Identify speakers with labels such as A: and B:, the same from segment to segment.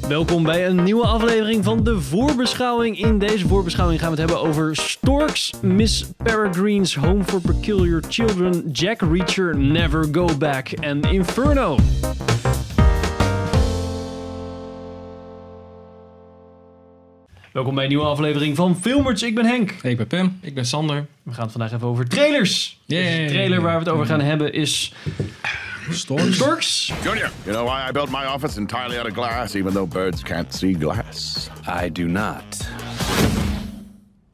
A: Welkom bij een nieuwe aflevering van de voorbeschouwing. In deze voorbeschouwing gaan we het hebben over Storks, Miss Peregrine's Home for Peculiar Children, Jack Reacher, Never Go Back en Inferno. Welkom bij een nieuwe aflevering van Filmers. Ik ben Henk.
B: Hey, ik ben Pim. Ik ben Sander.
A: We gaan het vandaag even over trailers. Dus
B: Yay. Mm.
A: De trailer waar we het over gaan hebben is
B: Storm.
A: Storks.
C: Junior, you know why I built my office entirely out of glass, even though birds can't see glass?
D: I do not.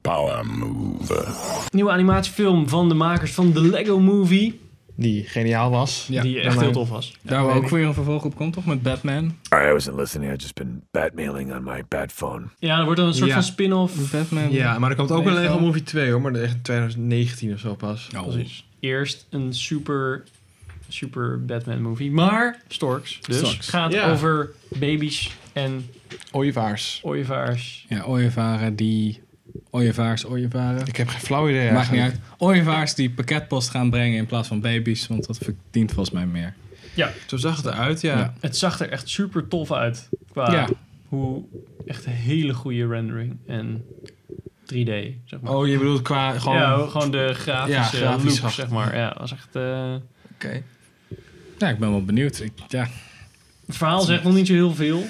C: Power move.
A: Nieuwe animatiefilm van de makers van The Lego Movie.
E: Die geniaal was.
B: Ja,
A: die echt
B: maar-
A: heel tof was.
B: Daar we ook weer een vervolg op komt, toch? Met Batman.
D: I wasn't listening. I've just been batmailing on my bat phone.
A: Ja, er wordt een soort
E: Ja.
A: van spin-off.
B: Batman.
E: Ja, maar er komt ook een
B: Lego.
E: Lego Movie 2 hoor, maar echt in 2019 of zo pas.
B: Oh.
E: Precies.
A: Eerst een super, super Batman movie. Maar Storks dus
B: Storks.
A: gaat
E: Ja.
A: over baby's en
E: Ooievaars.
A: ooievaars.
B: Ja, ooievaren die... Ooievaars, ooievaren.
E: Ik heb geen flauw idee
B: Maakt niet
E: eigenlijk.
B: uit. Ooievaars die pakketpost gaan brengen in plaats van baby's, want dat verdient volgens mij meer.
A: Ja,
E: Zo zag het eruit, ja.
B: Ja.
A: het zag er echt super tof uit. Qua
B: Ja.
A: hoe echt een hele goede rendering en 3D, zeg maar.
E: Oh, je bedoelt qua gewoon...
A: ja, gewoon de grafische
E: Ja, grafisch
A: look,
E: gaf-
A: zeg maar. Ja, was echt, eh,
B: Ja, ik ben wel benieuwd. Ik, ja,
A: het verhaal zegt nog niet zo heel veel.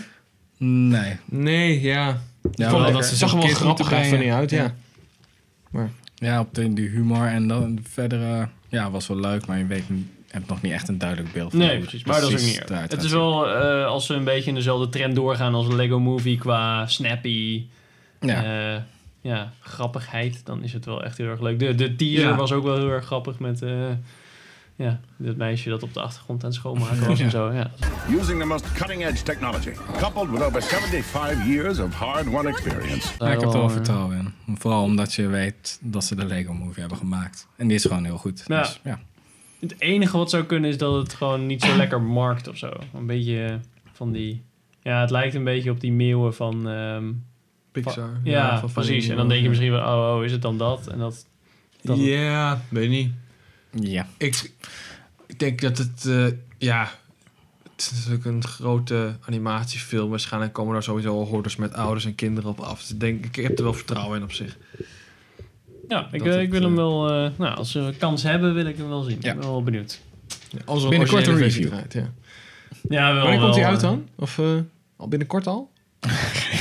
B: nee.
E: Nee, ja.
B: Ja,
E: Vond
B: wel
E: ik-
B: dat ze
E: zag
B: zo'n
E: er wel
B: kind moeten
E: grappig uit,
B: brengen.
E: niet uit, ja.
B: Ja, op de, de humor en dan verder... eh, ja, was wel leuk, maar je weet niet... je hebt nog niet echt een duidelijk beeld van
A: Nee,
B: hoe
A: precies. Maar dat is ook niet erg.
B: eruit
A: Het
B: gaat
A: is
B: zien.
A: wel, eh, als ze een beetje in dezelfde trend doorgaan als een Lego Movie qua snappy,
B: Ja.
A: ja. Eh, ja, grappigheid, dan is het wel echt heel erg leuk. De, de teaser
E: Ja.
A: was ook wel heel erg grappig met eh, ja, dat meisje dat op de achtergrond aan het schoonmaken was en
B: Ja.
A: zo. Ja.
C: Using the most cutting edge technology, coupled with over 75 years of hard won experience.
B: Ja, ik heb er wel
A: eh,
B: vertrouwen in. Vooral omdat je weet dat ze de Lego Movie hebben gemaakt. En die is gewoon heel goed.
A: Ja.
B: Dus, ja.
A: Het enige wat zou kunnen is dat het gewoon niet zo lekker markt of zo. Een beetje eh, van die... Ja, het lijkt een beetje op die meeuwen van... ehm,
E: Pixar.
A: ja, precies. En dan denk je misschien wel, oh, oh, is het dan dat? En dat...
E: Ja,
A: dat
E: weet niet.
B: ja.
E: Ik, ik denk dat het... eh, ja, het is natuurlijk een grote animatiefilm. Waarschijnlijk komen daar sowieso al hordes met ouders en kinderen op af. Dus ik, denk, ik heb er wel vertrouwen in op zich.
A: Ja, ik,
E: Dat
A: eh, ik
E: het,
A: wil hem
E: eh,
A: wel... eh, nou, als we kans hebben, wil ik hem wel zien.
B: Ja.
A: Ik ben wel benieuwd.
E: Als er
B: Binnenkort
E: originele
B: een
E: versie
B: review.
E: draait, ja.
A: Ja, wel,
E: Wanneer komt
A: wel,
E: hij uit
A: eh,
E: dan? Of eh, al binnenkort al?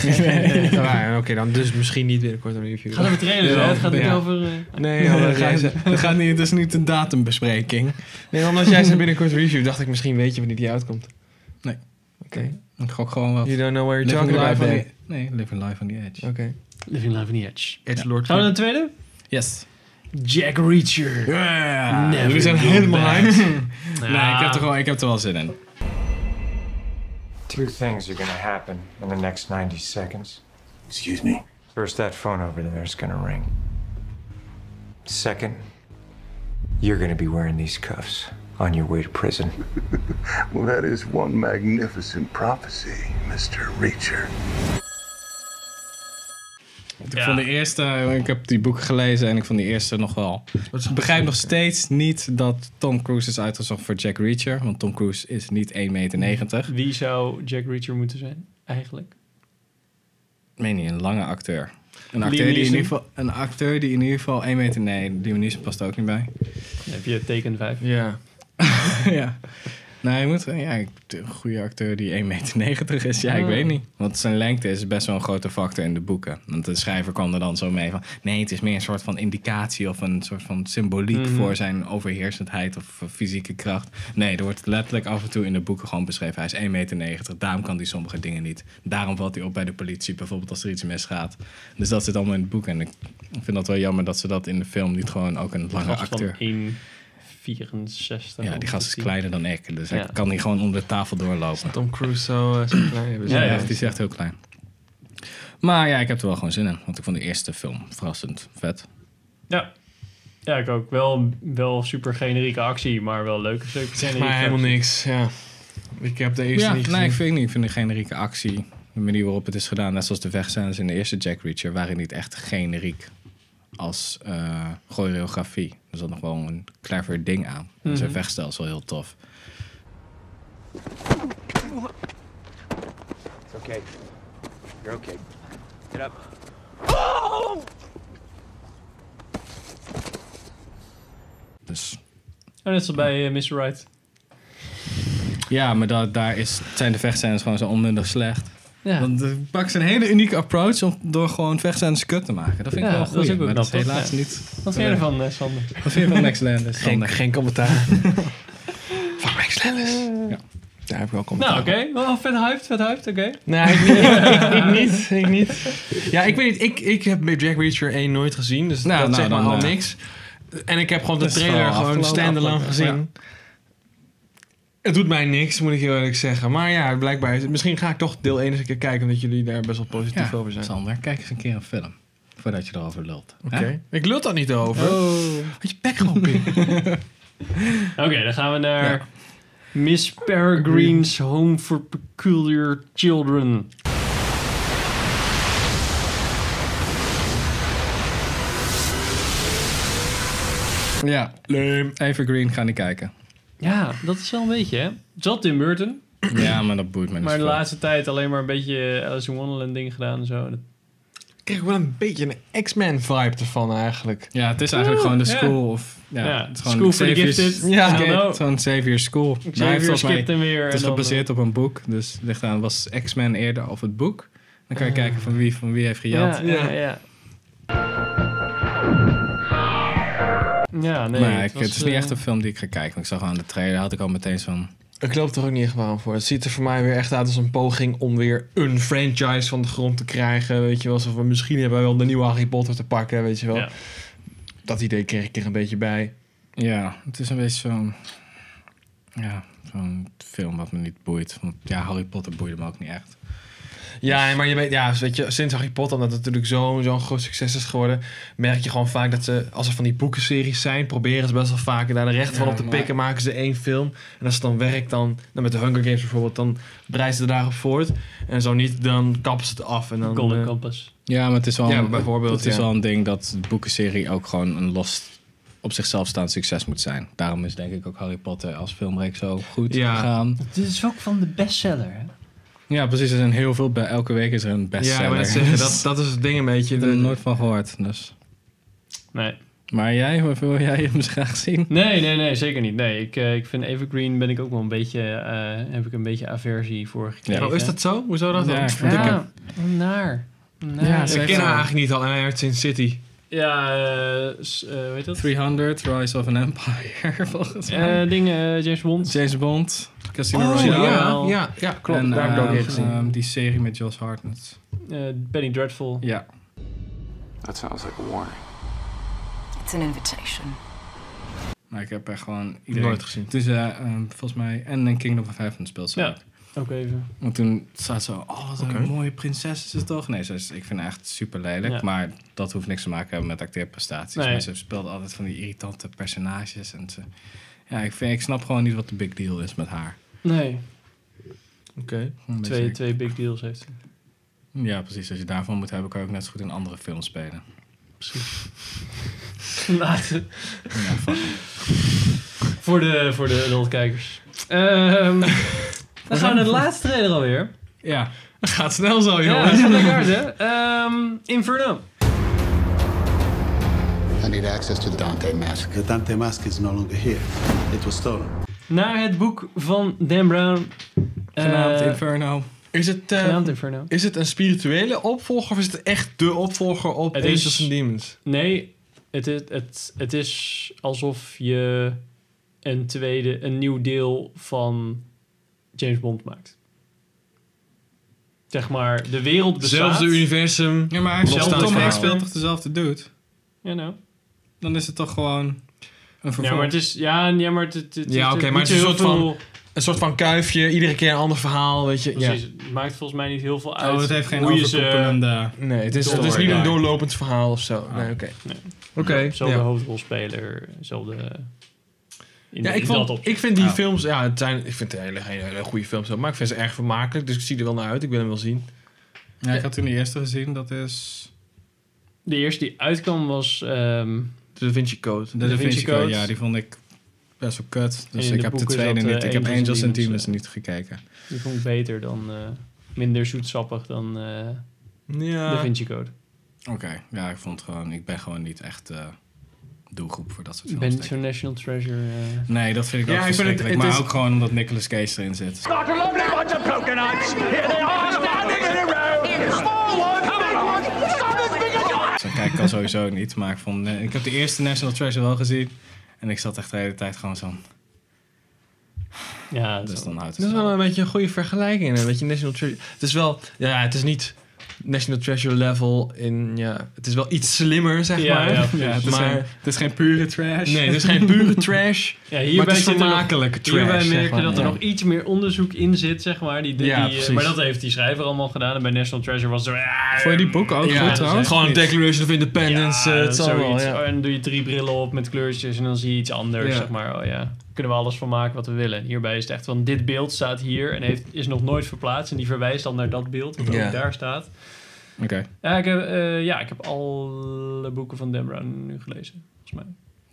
E: nee, ja, Oké, dan dus misschien niet binnenkort een review.
A: eh, Gaat over trailers,
E: Ja,
A: hè? Het gaat niet
E: ja.
A: over... eh,
E: Nee,
B: Ja,
E: omdat
B: dat,
E: jij
B: gaat,
E: ze-
B: dat gaat niet, dat is niet een datumbespreking.
E: nee, omdat jij zei binnenkort review, dacht ik misschien weet je wanneer die uitkomt.
B: Nee.
E: Oké.
B: Ik gok gewoon wat.
E: You don't know where you're
B: Living
E: talking
B: Life
E: about,
B: on
E: babe.
B: the- nee, Living Life on the Edge.
E: Oké.
A: Living Life on the Edge.
E: Edge Lord.
A: Gaan we naar de tweede?
B: Yes.
A: Jack Reacher.
B: Yeah.
A: Never
B: We zijn
A: go
B: helemaal
A: back.
B: hyped. Nee,
A: Ja.
B: ik heb, er wel, ik heb er wel zin in.
F: Two things are gonna happen in the next 90 seconds.
C: Excuse me.
F: First, that phone over there is gonna ring. Second, you're gonna be wearing these cuffs on your way to prison.
C: Well, that is one magnificent prophecy, Mr. Reacher.
B: Ik
A: Ja.
B: vond de eerste, ik heb die boeken gelezen en ik vond die eerste nog wel. Ik begrijp nog steeds niet dat Tom Cruise is uitgezocht voor Jack Reacher. Want Tom Cruise is niet 1,90 meter.
A: Wie zou Jack Reacher moeten zijn, eigenlijk?
B: Ik meen niet, een lange acteur. Een
A: Liam
B: acteur, die in
A: Neeson?
B: ieder geval, een acteur die in ieder geval 1 meter... Nee, die Neeson past er ook niet bij.
A: Dan heb je Taken 5.
E: Ja.
B: ja. Nee, je moet... Ja, een goede acteur die 1,90 meter is. Ja, ik
A: Ah.
B: weet niet. Want zijn lengte is best wel een grote factor in de boeken. Want de schrijver kwam er dan zo mee van... Nee, het is meer een soort van indicatie of een soort van symboliek...
A: Mhm.
B: voor zijn overheersendheid of eh, fysieke kracht. Nee, er wordt letterlijk af en toe in de boeken gewoon beschreven... hij is 1,90 meter, daarom kan hij sommige dingen niet. Daarom valt hij op bij de politie, bijvoorbeeld als er iets misgaat. Dus dat zit allemaal in het boek. En ik vind dat wel jammer dat ze dat in de film niet gewoon ook een lange
A: Gast
B: acteur...
A: van 1,64.
B: Ja, die gast is kleiner dan ik. Dus
A: Ja.
B: hij kan hier gewoon onder de tafel doorlopen.
E: Tom Cruise zou eh, zo klein hebben.
B: Ja,
A: Ja,
B: ja,
A: ja.
B: die is echt heel klein. Maar ja, ik heb er wel gewoon zin in. Want ik vond de eerste film verrassend vet.
A: Ja. Ja, ik ook. Wel, wel super generieke actie, maar wel leuke stuk.
E: Maar helemaal niks, ja. Ik heb de eerste
B: ja,
E: niet gezien.
B: nee, ik vind, niet. ik vind de generieke actie, de manier waarop het is gedaan... net zoals de vechtscènes in de eerste Jack Reacher... waren niet echt generiek als eh, choreografie. Er zat nog wel een clever ding aan. En zijn vechtstijl is wel heel tof.
F: Okay. You're okay. Get up.
B: Dus
A: Oh, net zoals bij eh, Mr. Right.
B: ja, maar dat, daar is, zijn de vechtscènes gewoon zo onmundig slecht.
A: Ja,
B: Want eh, pak ze een hele unieke approach om, door gewoon vechtscènes kut te maken. Dat vind ik
A: Ja,
B: wel
A: dat is
B: goed.
A: ook wel
B: Maar dat is
A: knap, toch?
B: helaas
A: Ja.
B: niet.
A: wat vind je ervan, eh, Sander?
B: Wat vind je van Max Landis?
G: Geen,
B: Sander?
G: geen commentaar. Van Max Lennis.
B: Ja.
G: Daar heb ik wel commentaar
A: Nou, oké. Wel vet hyped, vet hyped, oké.
G: Nee, ik niet. ik, ik niet. Ik niet. Ja, ik weet niet. Ik, ik heb Jack Reacher 1 nooit gezien. Dus
B: Nou,
G: dat
B: nou,
G: zegt maar
B: dan,
G: al
B: eh,
G: niks. En ik heb gewoon de
B: dat is wel
G: trailer gewoon
B: afgelopen,
G: stand-alone
B: afgelopen,
G: gezien. Het doet mij niks, moet ik heel eerlijk zeggen. Maar ja, blijkbaar. is het- Misschien ga ik toch deel 1 eens een keer kijken. Omdat jullie daar best wel positief over zijn.
B: Sander, kijk eens een keer een film. Voordat je erover lult.
G: Oké. Ik lul daar niet over.
B: Oh.
G: Had je bek gewoon pik.
A: Oké, dan gaan we naar Miss Peregrine's Home for Peculiar Children.
B: Ja. Evergreen, ga niet kijken.
A: Ja, dat is wel een beetje, hè? Zat Tim Burton,
B: Ja, maar dat boeit me niet.
A: maar de
B: zoveel.
A: laatste tijd alleen maar een beetje eh, Alice in Wonderland ding gedaan en zo. Dat-
G: Ik kreeg wel een beetje een X-Men vibe ervan eigenlijk.
B: Ja, het is eigenlijk gewoon de
A: ja.
B: school of... Ja,
A: Ja,
B: het is gewoon
A: school for the
B: Xavier's-
A: gifted.
B: Ja,
A: I don't know.
B: het is gewoon Xavier's School. Daar heeft
A: Xavier
B: volgens mij-
A: skipt hem weer.
B: Het
A: en
B: is
A: dan, eh,
B: gebaseerd op een boek. Dus het ligt aan, was X-Men eerder of het boek? Dan kan
A: Ah.
B: je kijken van wie, van wie heeft
A: eh, Ja,
B: gejat.
A: ja, ja. Ja, nee.
B: maar ik,
A: was,
B: het is niet
A: eh,
B: echt een film die ik ga kijken. Want ik zag al aan de trailer, had ik al meteen zo'n...
G: Ik loop er ook niet echt warm voor. Het ziet er voor mij weer echt uit als een poging om weer een franchise van de grond te krijgen. Weet je wel, alsof we misschien hebben we wel de nieuwe Harry Potter te pakken, weet je wel.
A: Ja.
G: Dat idee kreeg ik er een beetje bij.
B: Ja, het is een beetje zo'n... Ja, zo'n film wat me niet boeit. Want ja, Harry Potter boeide me ook niet echt.
G: Ja, maar je weet, ja, weet je, sinds Harry Potter, omdat het natuurlijk zo'n zo groot succes is geworden, merk je gewoon vaak dat ze, als er van die boekenseries zijn, proberen ze best wel vaak daar de rechten van
B: Ja,
G: op te
B: maar-
G: pikken, maken ze één film. En als het dan werkt, dan, dan met de Hunger Games bijvoorbeeld, dan breiden ze daarop voort. En zo niet, dan kappen ze het af. En dan,
A: Golden
G: eh,
A: Compass.
B: Ja, maar het is wel,
G: Ja,
B: een,
G: bijvoorbeeld,
B: het is
G: ja.
B: wel een ding dat de boekenserie ook gewoon een los op zichzelf staand succes moet zijn. Daarom is denk ik ook Harry Potter als filmreeks zo goed
G: Ja.
B: gegaan.
A: Dit is dus ook van de bestseller, hè?
B: Ja, precies. Er zijn heel veel, bij elke week is er een bestseller. Dus-
G: Ja, ik wou net zeggen, dat, dat is het ding een beetje.
B: Ik heb
G: De,
B: er nooit van gehoord. Dus.
A: Nee.
B: Maar jij, wat wil jij hem eens graag zien?
A: Nee, nee, nee, zeker niet. Nee, ik, eh, ik vind Evergreen ben ik ook wel een beetje, eh, heb ik een beetje aversie voor gekregen.
G: Oh, is dat zo? Hoezo dat dan?
B: Ja, ik
G: ik
B: vind ik heb-
A: Ja, naar. naar.
B: Ja,
A: Ja,
B: zeker.
G: ken haar eigenlijk niet al. En hij heeft Sin City.
A: eh, s- eh, hoe heet dat?
B: 300, Rise of an Empire, volgens mij.
A: Eh, dingen, eh, James Bond.
B: James Bond, Casino
A: Oh,
B: Royale.
G: ja,
A: ja.
G: ja, ja, klopt.
B: En,
G: Daar heb ik ook
B: ehm,
G: in gezien.
B: ehm, die serie met Josh Hartnett.
A: eh, Penny Dreadful.
B: Ja.
H: That sounds like a warning.
I: It's an invitation.
B: Maar ik heb echt gewoon iedereen...
G: Nooit gezien.
B: Dus eh, ehm, volgens mij... En in Kingdom of Heaven speelt ze
A: Ja.
B: ook.
A: Ook even.
B: Want toen staat zo, oh wat een mooie prinses is het toch? Nee, ze is, ik vind haar echt super lelijk.
A: Ja.
B: Maar dat hoeft niks te maken hebben met acteerprestaties.
A: Nee.
B: Maar ze speelt altijd van die irritante personages. En ze, ja, ik, vind, ik snap gewoon niet wat de big deal is met haar.
A: Nee,
G: Oké.
B: Een
A: twee,
B: beetje-
A: twee big deals heeft hij.
B: Ja, precies. Als je daarvan moet hebben, kan je ook net zo goed in andere films spelen.
A: Later. voor de, voor de adultkijkers. Ehm, dan gaan we naar de laatste trailer alweer.
B: Ja,
G: Het gaat snel zo,
A: Ja,
G: jongens.
A: dat gaat lekker hard, hè? Ehm, Inferno.
J: I need access to the Dante mask.
K: The Dante mask is no longer here. It was stolen.
A: Naar het boek van Dan Brown.
B: genaamd
A: Eh,
B: Inferno.
G: Is het, eh,
A: Genaamd Inferno.
G: is het een spirituele opvolger of is het echt de opvolger op
A: Het
G: Angels
A: is-
G: and Demons?
A: Nee, het is, het, het is alsof je een tweede, een nieuw deel van James Bond maakt. Zeg maar, de wereld bestaat.
G: Zelfde universum.
B: Ja, maar
A: Zelfde
B: Tom
A: verhaal.
B: Hanks speelt toch dezelfde dude?
A: Ja, nou.
B: Dan is het toch gewoon een vervolg.
A: Ja, maar het is... Ja, ja maar het, het, het-
G: Ja,
A: het-
G: oké,
A: het
G: maar
A: niet
G: het is
A: zo
G: een
A: heel
G: soort
A: veel-
G: Een soort van kuifje, iedere keer een ander verhaal, weet je. Ja.
A: Precies, het maakt volgens mij niet heel veel uit
B: Oh, het heeft geen
A: hoe je ze...
B: overkoepelende...
G: Nee, het is, het is niet
B: Storyline.
G: een doorlopend verhaal of zo. Nee, oké.
A: Ah. Nee.
G: Oké.
A: Zelfde
G: ja.
A: hoofdrolspeler, zelfde... In,
G: Ja,
A: in
G: ik,
A: dat
G: vond,
A: op.
G: ik vind die
B: Ja.
G: films, ja, het zijn, ik vind het hele, hele, hele goede films, maar ik vind ze erg vermakelijk, dus ik zie er wel naar uit. Ik wil hem wel zien.
B: Ja, ik had toen de eerste gezien, dat is...
A: De eerste die uitkwam was... ehm,
G: De Da Vinci Code.
B: De Da Vinci, Code, ja, die vond ik best wel kut. Dus
A: in
B: ik
A: de
B: heb de
A: boeken
B: tweede
A: zat, eh,
B: niet. Ik heb
A: Angels and
B: Angels en
A: Demons,
B: Demons
A: eh.
B: niet gekeken.
A: die vond ik beter dan... eh, minder zoetsappig dan eh
G: Ja.
A: Da Vinci Code.
B: Oké, ja, ik vond gewoon, ik ben gewoon niet echt eh, doelgroep voor dat soort
A: Ik
B: films.
A: ben niet
B: denk ik.
A: zo'n National Treasure. eh.
B: Nee, dat vind ik
A: Ja,
B: ook
A: ik vind het-
B: verschrikkelijk.
A: het
B: maar
A: is-
B: ook gewoon omdat Nicolas Cage erin zit.
L: Got a lovely bunch of coconuts. Here they are, standing in a row. Small one, big one, some as big as your
B: Zo kijk ik al sowieso niet, maar ik, vond, eh, ik heb de eerste National Treasure wel gezien. En ik zat echt de hele tijd gewoon zo.
A: Ja,
B: dus dan houdt
G: Dat is wel een beetje een goede vergelijking. Een beetje National Treasure. Het is wel, ja, het is niet National Treasure level in, ja, het is wel iets slimmer, zeg
A: Ja,
G: maar.
A: ja, precies.
G: maar
A: Ja, het is geen-
B: het is geen pure trash.
G: Nee, het is geen pure trash.
A: Ja,
G: maar
A: hierbij,
G: het is
A: zit er nog-
G: vermakelijke trash.
A: hierbij
G: zeg
A: merk je
G: maar,
A: dat er
G: ja.
A: nog iets meer onderzoek in zit, zeg maar. Die, die,
G: Ja,
A: die, eh,
G: precies.
A: maar dat heeft die schrijver allemaal gedaan. En bij National Treasure was er... ah,
B: Vond je die boeken ook
A: ja,
B: goed
A: dat is
B: trouwens?
A: echt
G: Gewoon
A: niet-
G: Declaration of Independence,
A: Ja,
G: eh, het zal wel,
A: zoiets.
G: ja.
A: Oh, En dan doe je drie brillen op met kleurtjes en dan zie je iets anders,
G: Ja.
A: zeg maar. Oh ja, kunnen we alles van maken wat we willen. Hierbij is het echt van, dit beeld staat hier en heeft, is nog nooit verplaatst. En die verwijst dan naar dat beeld wat
B: Ja.
A: ook daar staat.
B: Oké.
A: Ja ik, heb, eh, ja, ik heb alle boeken van Dan Brown nu gelezen, volgens mij.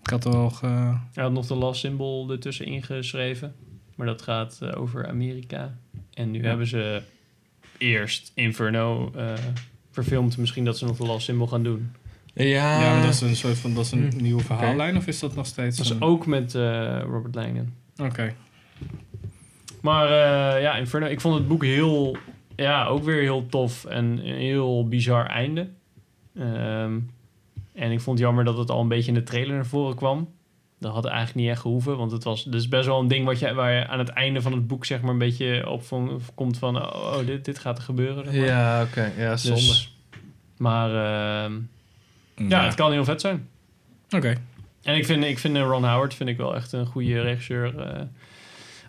B: Ik had toch. eh,
A: Hij had nog de last symbol ertussen ingeschreven. Maar dat gaat eh, over Amerika. En nu hebben ze eerst Inferno eh, verfilmd. Misschien dat ze nog de last symbol gaan doen.
G: Ja.
B: Ja, maar dat is een soort van. Dat is een
G: Hm.
B: nieuwe verhaallijn, of is dat nog steeds.
A: Dat is
B: een-
A: Dus ook met eh, Robert Langdon.
B: Mm. Oké.
A: Maar eh, ja, Inferno. Ik vond het boek heel... Ja, ook weer heel tof. En een heel bizar einde. Ehm, en ik vond het jammer dat het al een beetje in de trailer naar voren kwam. Dat had eigenlijk niet echt gehoeven. Want het was dus best wel een ding wat je, waar je aan het einde van het boek zeg maar een beetje op van, komt van... Oh, oh, dit, dit gaat er gebeuren. zeg maar.
G: Ja, oké. Ja, zonde.
A: Dus- maar ehm, ja, het kan heel vet zijn.
B: Mm. Oké.
A: En ik vind, ik vind eh, Ron Howard vind ik wel echt een goede regisseur. eh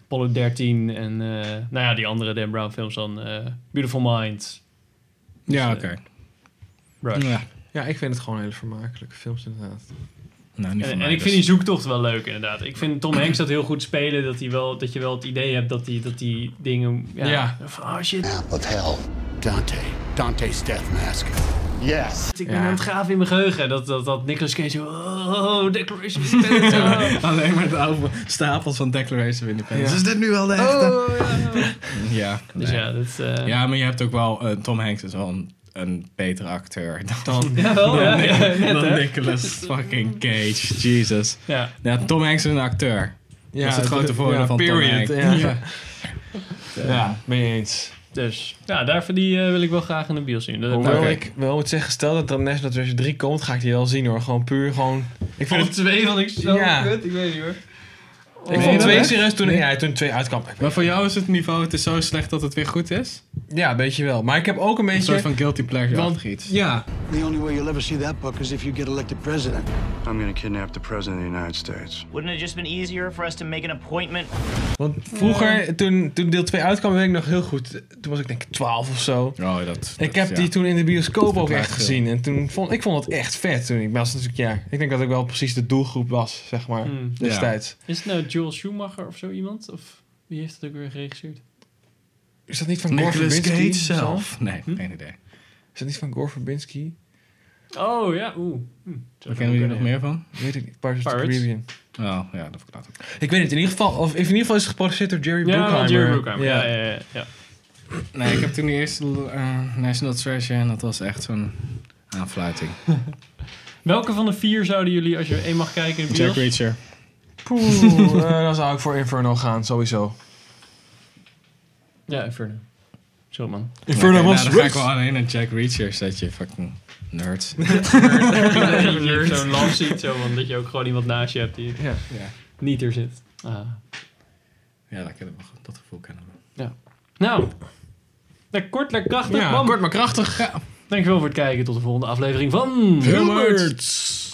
A: Apollo 13 en eh, nou ja, die andere Dan Brown films dan eh, Beautiful Mind.
B: Ja,
A: eh,
B: oké.
A: Rush.
B: Ja.
G: Ja, ik vind het gewoon hele vermakelijke films inderdaad.
B: Nou, niet
A: En,
B: van
A: en
B: mij
A: ik
B: dus.
A: vind die zoektocht wel leuk, inderdaad. Ik vind Tom Hanks dat heel goed spelen. Dat, hij wel, dat je wel het idee hebt dat hij dat die dingen... Ja.
G: Ja.
A: Van, oh shit,
J: Now, what the hell? Dante. Dante's death mask. Yes.
A: ik ben aan het graven in mijn geheugen. Dat, dat, dat Nicolas Cage zo... Oh, Declaration of Independence, oh.
B: Alleen maar de oude stapels van Declaration of Independence. Is dit nu wel de echte? ja.
A: Oh, Dus
B: nee.
A: ja, dat... eh,
B: Ja, maar je hebt ook wel. eh, Tom Hanks is wel een, een betere acteur dan, dan,
A: Ja, wel, ja, ja, net,
B: dan
A: hè?
B: Nicolas fucking Cage. Jesus.
A: Ja.
B: Ja, Tom Hanks is een acteur.
G: Ja,
B: dat is het grote
G: d-
B: voordeel
G: ja,
B: van
G: period,
B: Tom
G: ja.
B: Hanks.
G: Ja. Ja, mee eens.
A: Dus ja, daarvoor die eh, wil ik wel graag in de bios zien. Dat-
G: Hoewel
A: Oké.
G: ik wel moet zeggen, stel dat er een National Treasure 3 komt, ga ik die wel zien hoor. Gewoon puur gewoon... Ik
A: Van twee vond ik zo
G: Ja.
A: kut, ik weet niet hoor. Oh,
G: Ik
B: je
G: vond
B: dat
G: twee
B: echt?
G: serieus toen,
B: Nee.
G: ja, toen twee uitkwam. Ik-
B: Maar voor jou is het niveau, het is zo slecht dat het weer goed is?
G: Ja, een beetje wel. Maar ik heb ook een
B: Een soort
G: beetje...
B: van guilty pleasure iets.
G: Ja,
L: The only way you'll ever see that book is if you get elected president.
H: I'm gonna kidnap the president of the United States.
M: Wouldn't it have just been easier for us to make an appointment?
G: want vroeger, toen, toen deel 2 uitkwam, weet ik nog heel goed. Toen was ik denk ik 12 of zo.
B: Oh, dat,
G: Ik heb die toen in de bioscoop ook
B: verklaart
G: echt
B: veel.
G: gezien. En toen vond ik vond het echt vet toen. Ik was natuurlijk, ja, ik denk dat ik wel precies de doelgroep was, zeg maar,
A: Hmm.
G: destijds.
A: Is het nou Joel Schumacher of zo iemand? Of wie heeft het ook weer geregisseerd?
G: Is dat niet van Gore
B: Nicolas
G: Verbinski?
B: Cage
G: of zo?
B: zelf? Nee, geen idee.
G: Is Hm? dat niet van Gore Verbinski?
A: Oh ja, oeh. Hm.
B: Waar kennen we hier nog meer van?
G: Weet ik niet. Pirates, of the
A: Pirates?
G: Caribbean.
B: Oh, ja, dat verklaart ook.
G: Ik weet het in ieder geval. Of in ieder geval is het geproduceerd door Jerry
A: Ja,
G: Bruckheimer.
A: van Jerry Bruckheimer. Ja,
G: Ja.
A: ja, ja. ja.
B: Nee, ik heb toen de eerste eh, National Treasure en dat was echt zo'n aanfluiting.
A: Welke van de vier zouden jullie, als je één mag kijken in de
B: Jack
A: bios?
B: Reacher.
G: Poeh, eh, dan zou ik voor Inferno gaan, sowieso.
A: Ja, Inferno. Zo man.
G: Inferno
B: Oké,
G: was
B: nou, dan ga ik wel alleen naar Jack Reacher, zodat je fucking nerd.
A: je hebt zo'n lamp ziet, zo, want dat je ook gewoon iemand naast je hebt die
G: Ja.
B: ja.
A: niet er zit. Ah.
B: ja, dat, kennen we, goed. dat gevoel kennen we.
A: Nou, lekker kort, lekker krachtig.
G: Ja,
A: bam.
G: kort maar krachtig.
A: Dankjewel voor het kijken. Tot de volgende aflevering van...
B: Hummerts!